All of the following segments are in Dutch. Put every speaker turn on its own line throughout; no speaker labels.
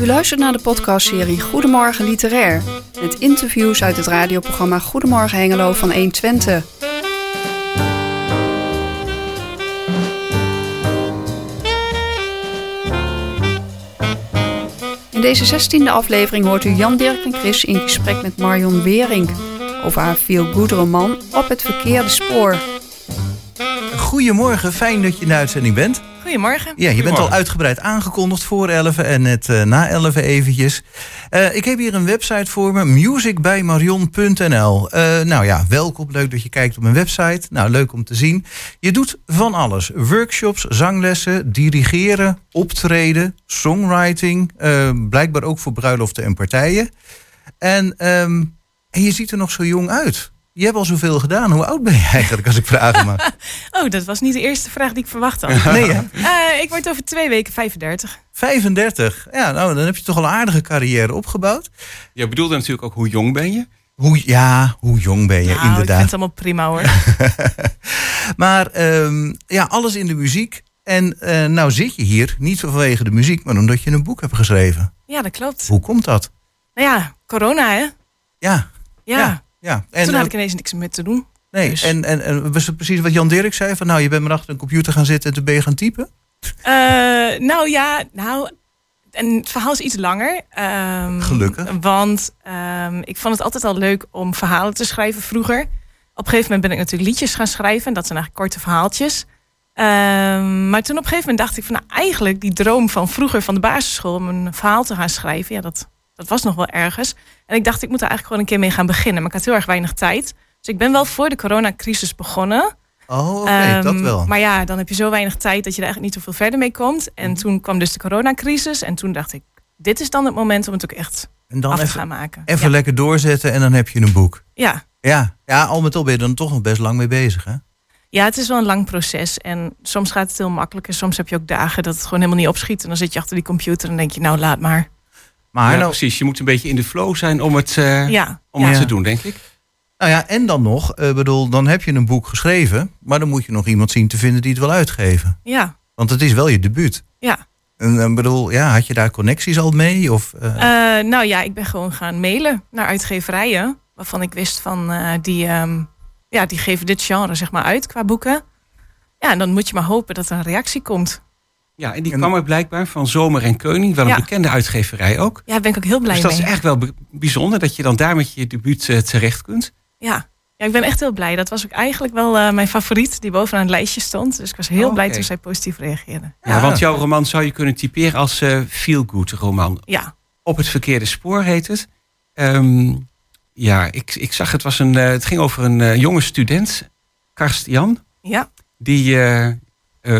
U luistert naar de podcastserie Goedemorgen Literair. Met interviews uit het radioprogramma Goedemorgen Hengelo van 1 Twente. In deze 16e aflevering hoort u Jan Dirk en Chris in gesprek met Marion Wering over haar feel-good roman Op het verkeerde spoor.
Goedemorgen, fijn dat je in de uitzending bent.
Goedemorgen.
Ja, je bent al
Goedemorgen.
uitgebreid aangekondigd voor 11 en net eh, na 11 eventjes. Eh, ik heb hier een website voor me, musicbymarion.nl. Eh, nou ja, welkom, leuk dat je kijkt op mijn website. Nou, leuk om te zien. Je doet van alles. Workshops, zanglessen, dirigeren, optreden, songwriting. eh, blijkbaar ook voor bruiloften en partijen. En, ehm, en je ziet er nog zo jong uit. Je hebt al zoveel gedaan. Hoe oud ben je eigenlijk, als ik vragen mag?
Oh, dat was niet de eerste vraag die ik verwacht had.
Nee, hè?
Eh, ik word over twee weken 35.
35. Ja, nou, dan heb je toch al een aardige carrière opgebouwd.
Je bedoelde natuurlijk ook hoe jong ben je?
Hoe, ja, hoe jong ben je,
Nou, Ik vind
inderdaad.
het allemaal prima hoor.
Maar ehm, ja, alles in de muziek. En eh, nou zit je hier niet vanwege de muziek, maar omdat je een boek hebt geschreven.
Ja, dat klopt.
Hoe komt dat?
Nou ja, corona hè? Ja.
Ja, ja. ja. En,
Toen had ik
eh,
ineens niks meer te doen.
nee,
dus.
en, en, en was het precies wat Jan Dirk zei? Van nou, je bent maar achter een computer gaan zitten en toen ben je gaan typen?
Eh, nou ja, nou. En het verhaal is iets langer. ehm,
Gelukkig.
Want ehm, ik vond het altijd al leuk om verhalen te schrijven vroeger. Op een gegeven moment ben ik natuurlijk liedjes gaan schrijven. En dat zijn eigenlijk korte verhaaltjes. Ehm, maar toen op een gegeven moment dacht ik van... Nou, eigenlijk die droom van vroeger van de basisschool... om een verhaal te gaan schrijven. Ja, dat, dat was nog wel ergens. En ik dacht, ik moet er eigenlijk gewoon een keer mee gaan beginnen. Maar ik had heel erg weinig tijd. Dus ik ben wel voor de coronacrisis begonnen.
Oh, oké, dat
Ehm,
wel.
Maar ja, dan heb je zo weinig tijd dat je er eigenlijk niet zoveel verder mee komt. En
Mhm.
toen kwam dus de coronacrisis. En toen dacht ik, dit is dan het moment om het ook echt
en dan
af te
even,
gaan maken.
even lekker doorzetten en dan heb je een boek.
ja. ja.
Ja, ja, al met al ben je dan toch nog best lang mee bezig, hè?
Ja, het is wel een lang proces. En soms gaat het heel makkelijk. En soms heb je ook dagen dat het gewoon helemaal niet opschiet. En dan zit je achter die computer en denk je, nou laat maar.
Maar
ja,
nou,
precies. Je moet een beetje in de flow zijn om het, eh,
Ja,
om
ja.
het
Ja.
te doen, denk ik.
Nou ja, en dan nog, eh bedoel, dan heb je een boek geschreven, maar dan moet je nog iemand zien te vinden die het wil uitgeven.
ja.
Want het is wel je debuut.
ja.
En, eh, bedoel, ja, had je daar connecties al mee? Of, eh,
Eh, nou ja, ik ben gewoon gaan mailen naar uitgeverijen. Waarvan ik wist van eh, die, ehm, ja, die geven dit genre zeg maar uit qua boeken. Ja, en dan moet je maar hopen dat er een reactie komt.
Ja, en die
En-
kwam er blijkbaar van Zomer en Keuning, wel een
Ja.
bekende uitgeverij ook.
Ja, daar ben ik ook heel blij
Dus dat
mee.
is echt wel be- bijzonder dat je dan daar met je debuut eh, terecht kunt.
ja. ja, ik ben echt heel blij. Dat was ook eigenlijk wel eh, mijn favoriet die bovenaan het lijstje stond. Dus ik was heel
Oh,
blij
oké.
toen zij positief reageerde.
Ja,
Ja.
want jouw roman zou je kunnen typeren als eh feel-good roman.
Ja,
Op het verkeerde spoor heet het. Ehm, ja, ik, ik zag het was een, eh, het ging over een eh, jonge student, Karstian.
ja,
die eh, eh,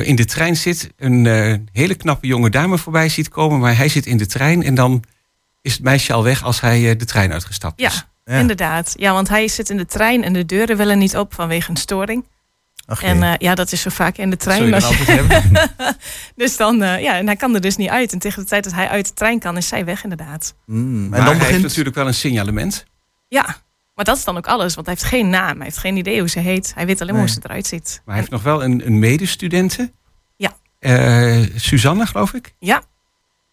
in de trein zit, een eh, hele knappe jonge dame voorbij ziet komen, maar hij zit in de trein en dan is het meisje al weg als hij eh, de trein uitgestapt
ja.
is.
ja,
Inderdaad. Ja, want hij zit in de trein en de deuren willen niet op vanwege een storing.
ach,
En
jee.
eh, ja, dat is zo vaak in de
Dat zul
trein.
je dan
als je-
altijd hebben.
Dus dan, eh, ja, en hij kan er dus niet uit. En tegen de tijd dat hij uit de trein kan, is zij weg inderdaad.
Mm,
Maar
en dan
hij heeft
begint
natuurlijk wel een signalement.
Ja, maar dat is dan ook alles, want hij heeft geen naam. Hij heeft geen idee hoe ze heet. Hij weet alleen maar
Nee.
hoe ze eruit ziet.
Maar hij heeft nog wel een, een medestudente.
Ja.
Eh, Suzanne, geloof ik.
Ja.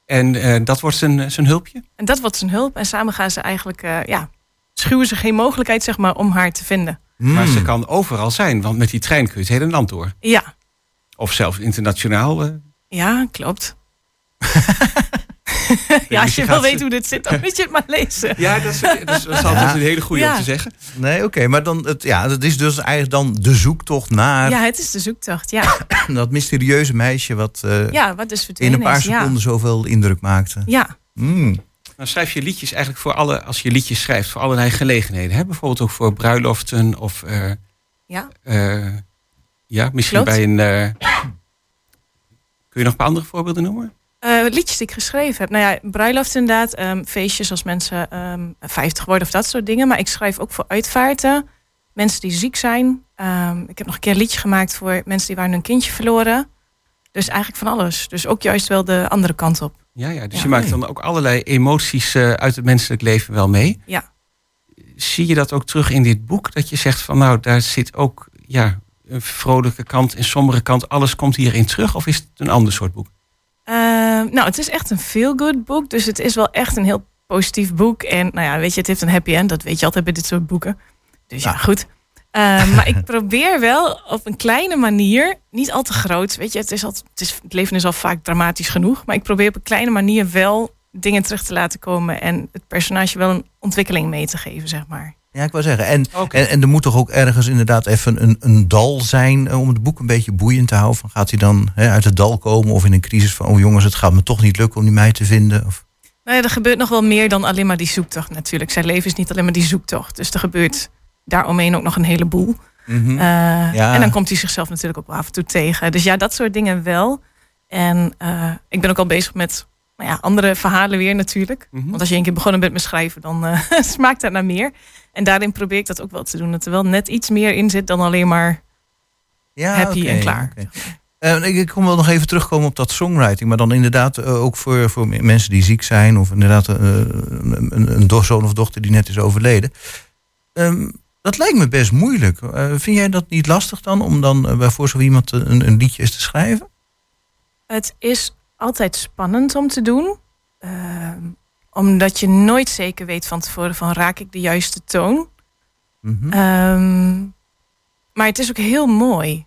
En eh, dat wordt zijn, zijn hulpje.
En dat wordt zijn hulp. En samen gaan ze eigenlijk, eh, ja, schuwen ze geen mogelijkheid zeg maar, om haar te vinden.
Mm,
Maar ze kan overal zijn, want met die trein kun je het hele land door.
Ja,
Of zelfs internationaal. eh.
ja, klopt.
je
ja, als je
gaat
wel
ze-
weet hoe dit zit, dan moet je het maar lezen.
Ja, dat is, dat is, dat is altijd een hele goede
Ja.
om te zeggen.
Nee, oké, maar dan, het, ja, dat is dus eigenlijk dan de zoektocht naar
Ja, het is de zoektocht. Ja,
dat mysterieuze meisje wat eh,
ja wat dus
in
verdwenen
een paar
is. Ja.
seconden zoveel indruk maakte.
Ja,
Mm,
Dan schrijf je liedjes eigenlijk voor alle, als je liedjes schrijft, voor allerlei gelegenheden. Hè? Bijvoorbeeld ook voor bruiloften of eh,
ja.
eh, ja, misschien
Klopt.
bij een. eh, kun je nog een paar andere voorbeelden noemen?
Eh, liedjes die ik geschreven heb. Nou ja, bruiloft inderdaad. ehm, feestjes als mensen ehm 50 worden of dat soort dingen. Maar ik schrijf ook voor uitvaarten. Mensen die ziek zijn. Ehm, ik heb nog een keer een liedje gemaakt voor mensen die waren hun kindje verloren. Dus eigenlijk van alles. Dus ook juist wel de andere kant op.
Ja, ja dus
Ja.
je maakt dan ook allerlei emoties eh, uit het menselijk leven wel mee.
Ja.
Zie je dat ook terug in dit boek? Dat je zegt van nou, daar zit ook ja, een vrolijke kant, een sombere kant, alles komt hierin terug? Of is het een ander soort boek?
Eh, Ehm, nou, het is echt een feel-good boek. Dus het is wel echt een heel positief boek. En nou ja, weet je, het heeft een happy end. Dat weet je altijd bij dit soort boeken. Dus ja,
Ja.
goed. Ehm, maar ik probeer wel op een kleine manier, niet al te groot. Weet je, het, is al, het, is, het leven is al vaak dramatisch genoeg. Maar ik probeer op een kleine manier wel dingen terug te laten komen. En het personage wel een ontwikkeling mee te geven, zeg maar.
Ja, ik wou zeggen. En,
Oké.
en, en er moet toch ook ergens inderdaad even een, een dal zijn eh, om het boek een beetje boeiend te houden. Van, gaat hij dan hè, uit het dal komen of in een crisis van, oh jongens, het gaat me toch niet lukken om die meid te vinden? Of,
Nou ja, er gebeurt nog wel meer dan alleen maar die zoektocht natuurlijk. Zijn leven is niet alleen maar die zoektocht. Dus er gebeurt daaromheen ook nog een heleboel. Eh,
Ja.
En dan komt hij zichzelf natuurlijk ook wel af en toe tegen. Dus ja, dat soort dingen wel. En eh, ik ben ook al bezig met nou ja, andere verhalen weer natuurlijk.
Mhm.
Want als je een keer begonnen bent met schrijven, dan eh, smaakt dat naar meer. En daarin probeer ik dat ook wel te doen. Dat er wel net iets meer in zit dan alleen maar...
Ja,
Happy
oké,
en klaar.
oké. Eh, ik, ik kom wel nog even terugkomen op dat songwriting. Maar dan inderdaad eh, ook voor, voor m- mensen die ziek zijn. Of inderdaad eh, een, een, een do- zoon of dochter die net is overleden. Ehm, dat lijkt me best moeilijk. Eh, vind jij dat niet lastig dan? Om dan eh, bij voor zo iemand een, een liedje eens te schrijven?
Het is altijd spannend om te doen. Ehm, omdat je nooit zeker weet van tevoren van raak ik de juiste toon.
Mhm.
Ehm, maar het is ook heel mooi.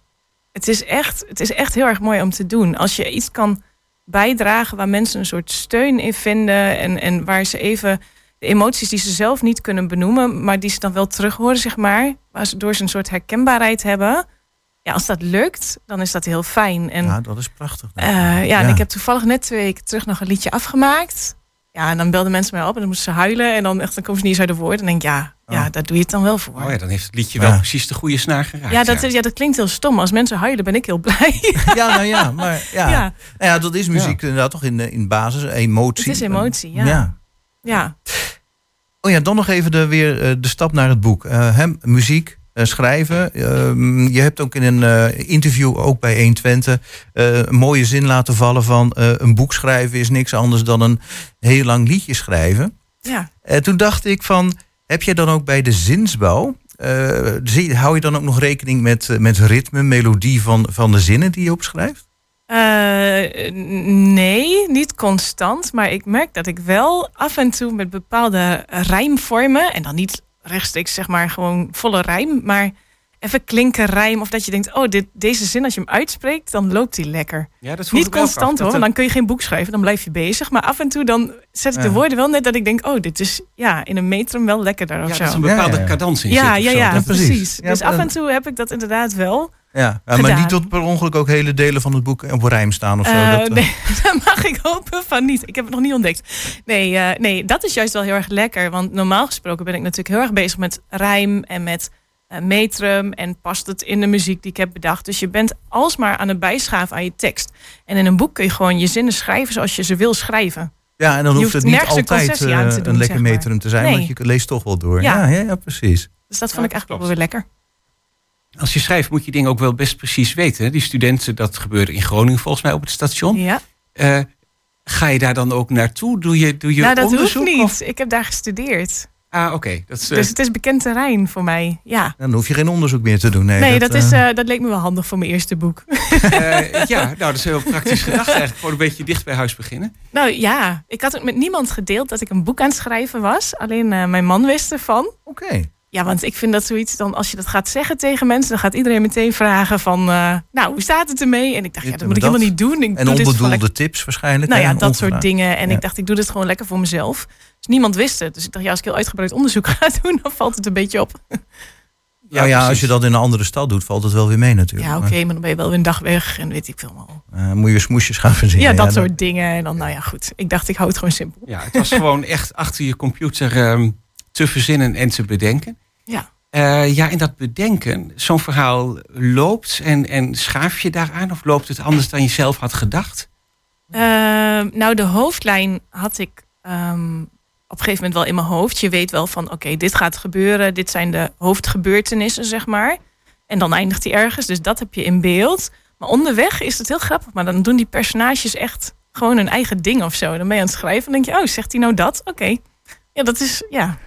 Het is, echt, het is echt heel erg mooi om te doen. Als je iets kan bijdragen waar mensen een soort steun in vinden. En, en waar ze even de emoties die ze zelf niet kunnen benoemen. maar die ze dan wel terug horen, zeg maar. Waardoor ze een soort herkenbaarheid hebben. Ja, als dat lukt, dan is dat heel fijn. En
ja, dat is prachtig.
eh, ja, en ik heb toevallig net twee weken terug nog een liedje afgemaakt. Ja, en dan belden mensen mij op en dan moesten ze huilen. En dan, echt, dan komen ze niet eens uit de woorden. En dan denk ik, ja,
Oh.
ja, daar doe je het dan wel voor.
Oh ja, dan heeft het liedje
Ja.
wel precies de goede snaar geraakt.
ja, dat, is- ja, dat klinkt heel stom. Als mensen huilen, ben ik heel blij.
ja, nou ja, maar ja.
Ja,
Nou ja, dat is muziek inderdaad toch in, eh, in basis emotie.
het is emotie, ja. ja.
ja. Oh ja, dan nog even de, weer eh, de stap naar het boek. Eh, hem, muziek, eh, schrijven. Ehm, je hebt ook in een eh, interview, ook bij 120, eh een mooie zin laten vallen van... eh, een boek schrijven is niks anders dan een heel lang liedje schrijven.
ja.
En toen dacht ik van, heb jij dan ook bij de zinsbouw... eh, zie, hou je dan ook nog rekening met, eh, met ritme, melodie van, van de zinnen die je opschrijft?
Eh, n- nee, niet constant. Maar ik merk dat ik wel af en toe met bepaalde rijmvormen... en dan niet rechtstreeks zeg maar gewoon volle rijm... maar even klinken rijm. Of dat je denkt, oh, dit, deze zin als je hem uitspreekt... dan loopt hij lekker.
Ja, dat vroeg
Niet
ik me ook af.
constant hoor,
Dat-
want dan kun je geen boek schrijven. Dan blijf je bezig. Maar af en toe dan zet ik de
Ja.
woorden wel net dat ik denk... oh, dit is ja, in een metrum wel lekkerder of
Ja,
zo.
dat is een
Ja,
bepaalde
ja, ja.
cadans in
Ja,
zit
ja,
of zo.
ja,
Ja, precies.
precies.
Ja,
dus af
eh,
en toe heb ik dat inderdaad wel.
Ja, ja, maar
Gedaan.
niet tot per ongeluk ook hele delen van het boek op rijm staan of zo.
Eh,
dat, eh,
nee, dat mag ik hopen van niet. Ik heb het nog niet ontdekt. Nee, eh, nee, dat is juist wel heel erg lekker. Want normaal gesproken ben ik natuurlijk heel erg bezig met rijm en met eh, metrum. En past het in de muziek die ik heb bedacht. Dus je bent alsmaar aan het bijschaven aan je tekst. En in een boek kun je gewoon je zinnen schrijven zoals je ze wil schrijven.
Ja, en dan
Je
hoeft
hoeft
het niet
nergens een
altijd
concessie
eh,
aan te doen,
een lekker
zeg maar.
metrum te zijn,
Nee.
want je leest toch wel door. Ja,
Ja.
ja, ja, precies.
Dus dat vond
Ja,
ik
dat
eigenlijk wel
klopt.
weer lekker.
Als je schrijft moet je dingen ook wel best precies weten. hè. Die studenten, dat gebeurde in Groningen volgens mij op het station.
Ja.
Eh, ga je daar dan ook naartoe? Doe je, doe je
nou, dat hoeft
onderzoek?
niet.
of-
Ik heb daar gestudeerd.
Ah, oké. Dat is, eh,
Dus het is bekend terrein voor mij. Ja.
Dan hoef je geen onderzoek meer te doen. Nee,
Nee, dat, is,
eh,
eh, dat leek me wel handig voor mijn eerste boek.
eh, ja, nou, dat is heel praktisch gedacht eigenlijk. Gewoon een beetje dicht bij huis beginnen.
Nou ja, ik had het met niemand gedeeld dat ik een boek aan het schrijven was. Alleen eh, mijn man wist ervan.
Oké.
Ja, want ik vind dat zoiets dan, als je dat gaat zeggen tegen mensen, dan gaat iedereen meteen vragen van, eh, nou, hoe staat het ermee? En ik dacht, ja,
Dit
dat moet
en
ik
dat.
helemaal niet doen. Ik
En
doe dit voor
onbedoelde tips waarschijnlijk.
nou
hè,
ja,
en
dat soort
ongevraagd.
dingen. En
Ja.
ik dacht, ik doe dit gewoon lekker voor mezelf. Dus niemand wist het. Dus ik dacht, ja, als ik heel uitgebreid onderzoek ga doen, dan valt het een beetje op.
Ja, Nou ja, als
precies.
je dat in een andere stad doet, valt het wel weer mee natuurlijk.
Ja, oké, maar dan ben je wel weer een dag weg en weet ik veel maar. al.
Maar, eh, moet je smoesjes gaan verzinnen.
Ja, dat soort dingen. En dan, nou ja, goed. Ik dacht, ik hou het gewoon simpel.
Ja, het was gewoon echt achter je computer ehm, te verzinnen en te bedenken.
Ja.
Eh, ja, en dat bedenken, zo'n verhaal loopt en, en schaaf je daaraan of loopt het anders dan je zelf had gedacht?
Ehm, nou, de hoofdlijn had ik ehm, op een gegeven moment wel in mijn hoofd. Je weet wel van, oké, dit gaat gebeuren. Dit zijn de hoofdgebeurtenissen, zeg maar. En dan eindigt die ergens. Dus dat heb je in beeld. Maar onderweg is het heel grappig. Maar dan doen die personages echt gewoon hun eigen ding of zo. Dan ben je aan het schrijven en denk je, oh, zegt hij nou dat? Oké. Ja, dat is, ja,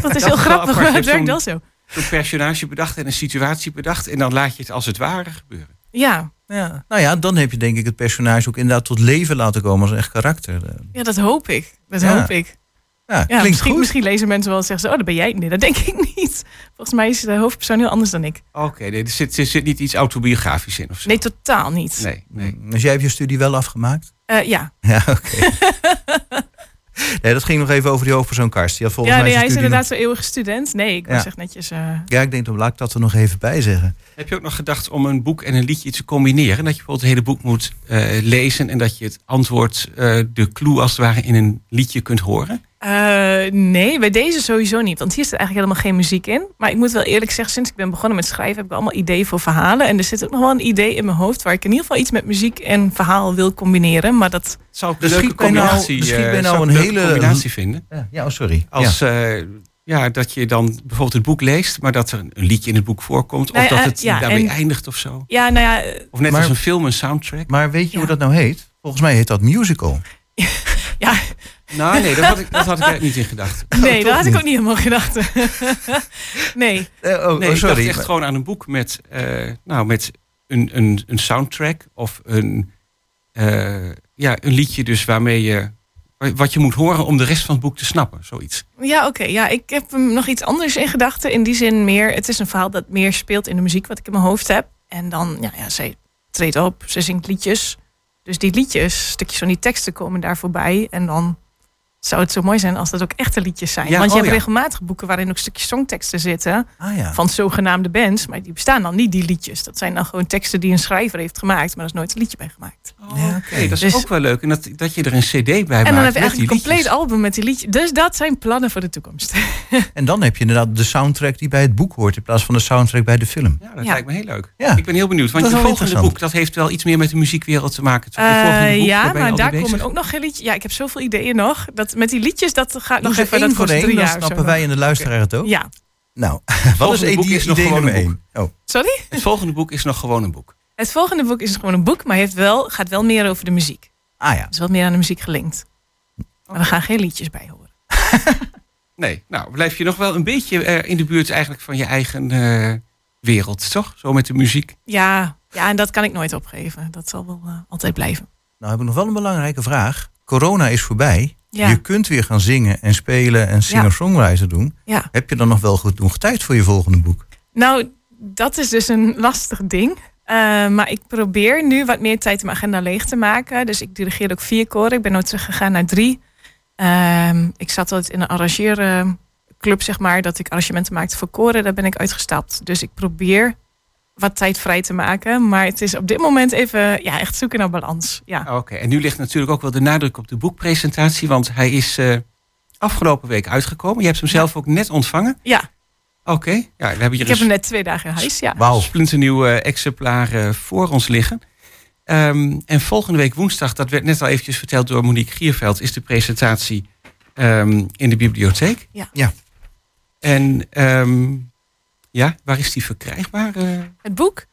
dat is
is
heel
wel
grappig,
apart.
maar
Je
het
hebt
werkt
zo'n-
wel zo.
Een personage bedacht en een situatie bedacht en dan laat je het als het ware gebeuren.
Ja,
Ja. Nou ja, dan heb je denk ik het personage ook inderdaad tot leven laten komen als echt karakter. Eh,
Ja, dat hoop ik. Dat
Ja.
hoop ik.
Ja,
Ja,
klinkt
misschien,
goed.
misschien lezen mensen wel en zeggen ze, oh, dat ben jij. Nee, dat denk ik niet. Volgens mij is de hoofdpersoon heel anders dan ik.
Oké, nee, er, zit, er zit niet iets autobiografisch in of zo.
Nee, totaal niet.
nee, nee.
Dus jij hebt je studie wel afgemaakt?
Eh, ja,
Ja, oké. nee, dat ging nog even over die hoofdpersoon Karst. Die had volgens
ja
mij
nee, hij
zijn
is
studie nog-
inderdaad zo'n eeuwige student. Nee, ik
Ja.
was echt netjes... eh,
Ja, ik denk dan laat ik dat er nog even bij zeggen.
Heb je ook nog gedacht om een boek en een liedje te combineren? Dat je bijvoorbeeld het hele boek moet eh, lezen en dat je het antwoord, eh, de clue als het ware, in een liedje kunt horen?
Eh, nee, bij deze sowieso niet. Want hier zit eigenlijk helemaal geen muziek in. Maar ik moet wel eerlijk zeggen, sinds ik ben begonnen met schrijven... heb ik allemaal ideeën voor verhalen. En er zit ook nog wel een idee in mijn hoofd... waar ik in ieder geval iets met muziek en verhaal wil combineren. Maar dat...
Zou ik
Dus
een leuke
schiet mij nou-
combinatie,
dus schiet mij
eh,
nou
zou ik
een
leuke
hele-
combinatie vinden?
Ja, ja oh, sorry.
Als ja. ja, dat je dan bijvoorbeeld het boek leest, maar dat er een een liedje in het boek voorkomt.
Nee,
of dat
eh,
het
ja,
daarmee
en-
eindigt of zo.
Ja, nou ja, eh,
Of net
Maar-
als een film, een soundtrack.
Maar weet je hoe
Ja.
dat nou heet? Volgens mij heet dat musical.
ja
Nou nee, dat had ik, dat had ik eigenlijk niet in gedacht.
nee,
toch
dat had ik
niet.
ook niet helemaal gedacht. nee,
Eh, oh,
Nee,
oh,
ik
sorry.
dacht echt gewoon aan een boek met, eh, nou, met een, een, een soundtrack of een, eh, ja, een liedje dus waarmee je wat je moet horen om de rest van het boek te snappen, zoiets.
ja, oké. ja, ik heb hem nog iets anders in gedachten. In die zin meer, het is een verhaal dat meer speelt in de muziek... wat ik in mijn hoofd heb. En dan, ja, ja zij treedt op, ze zingt liedjes. Dus die liedjes, stukjes van die teksten komen daar voorbij. En dan zou het zo mooi zijn als dat ook echte liedjes zijn.
Ja,
Want je
oh
hebt
ja.
regelmatig boeken waarin ook stukjes songteksten zitten...
Ah ja.
van zogenaamde bands, maar die bestaan dan niet, die liedjes. Dat zijn dan gewoon teksten die een schrijver heeft gemaakt... maar er is nooit een liedje bij gemaakt.
Ja, oké.
oh, dat is
Dus-
ook wel leuk. En dat, dat je er een cd bij maakt
En dan heb je
met
eigenlijk
die
een compleet
liedjes.
album met die liedjes. Dus dat zijn plannen voor de toekomst.
En dan heb je inderdaad de soundtrack die bij het boek hoort... in plaats van de soundtrack bij de film.
Ja, dat
Ja.
lijkt me heel leuk.
Ja.
Ik ben heel benieuwd,
Dat
want
is
je
wel
volgende
interessant.
boek... dat heeft wel iets meer met de muziekwereld te maken. toch? Je volgende
Eh,
boek,
ja,
ben je
maar
al mee
daar
bezig?
komen ook nog geen liedjes. Ja, ik heb zoveel ideeën nog. Dat, met die liedjes, dat gaat
Doe
nog
ze
even.
één
Dat
voor
kost
één,
drie
dan
jaar of zo
snappen
nog.
wij en de luisteraar het ook.
Ja.
Nou, wat is
volgende boek
idee,
is nog
idee
gewoon
nummer
een
één? Oh,
Sorry?
Het volgende boek is nog gewoon een boek.
Het volgende boek is gewoon een boek, maar heeft wel, gaat wel meer over de muziek.
ah ja.
Het is wel meer aan de muziek gelinkt. Maar er gaan geen liedjes bij horen.
Nee, nou blijf je nog wel een beetje eh, in de buurt eigenlijk van je eigen eh, wereld, toch? Zo met de muziek.
Ja, ja, en dat kan ik nooit opgeven. Dat zal wel eh, altijd blijven.
Nou heb ik nog wel een belangrijke vraag. Corona is voorbij.
Ja.
Je kunt weer gaan zingen en spelen en singer-songwriter doen.
Ja.
Heb je dan nog wel genoeg tijd voor je volgende boek?
Nou, dat is dus een lastig ding. Eh, maar ik probeer nu wat meer tijd in mijn agenda leeg te maken. Dus ik dirigeer ook vier koren. Ik ben nooit teruggegaan naar drie. Ehm, ik zat altijd in een arrangeerclub, zeg maar, dat ik arrangementen maakte voor koren. Daar ben ik uitgestapt. Dus ik probeer wat tijd vrij te maken. Maar het is op dit moment even ja, echt zoeken naar balans. Ja.
Ah, Oké, en nu ligt natuurlijk ook wel de nadruk op de boekpresentatie, want hij is eh, afgelopen week uitgekomen. Je hebt hem zelf ook net ontvangen.
ja,
Oké, ja, we hebben
ik
hier
heb hem
een
net twee dagen in huis. Ja.
Wauw.
splinternieuw eh, exemplaar eh, voor ons liggen. Ehm, en volgende week woensdag, dat werd net al eventjes verteld door Monique Gierveld, is de presentatie ehm, in de bibliotheek.
Ja.
Ja.
En ehm, ja, waar is die verkrijgbaar? eh?
Het boek?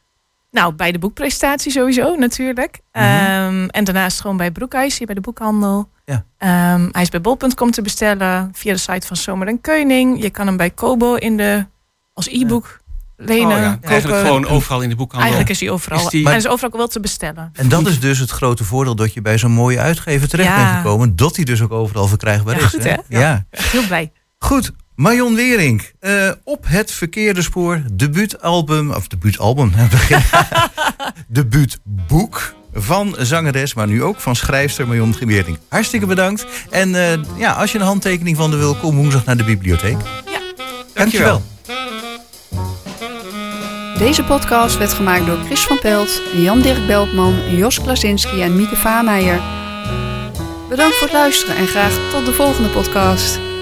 Nou, bij de boekpresentatie sowieso natuurlijk.
Mhm.
Ehm, en daarnaast gewoon bij Broekhuis, hier bij de boekhandel.
Ja.
Ehm, hij is bij bol.com te bestellen, via de site van Zomer en Keuning. Je kan hem bij Kobo in de, als e-book lenen.
Oh ja,
kopen.
Eigenlijk gewoon overal in de boekhandel.
eh, Eigenlijk is hij overal.
Is die-
Maar hij is overal ook wel te bestellen.
En dat is dus het grote voordeel dat je bij zo'n mooie uitgever terecht
Ja.
bent gekomen. Dat die dus ook overal verkrijgbaar
Ja,
is.
goed,
hè?
hè?
Ja.
Heel blij.
Goed, Marion Wering. eh, op het verkeerde spoor, debuutalbum, of debuutalbum, hè, begin. debuutboek van zangeres, maar nu ook van schrijfster Marion Wering. Hartstikke bedankt. En eh, ja, als je een handtekening van de wil, kom woensdag naar de bibliotheek.
Ja.
Dankjewel.
Deze podcast werd gemaakt door Chris van Pelt, Jan-Dirk Beltman, Jos Klasinski en Mieke Vaameijer. Bedankt voor het luisteren en graag tot de volgende podcast.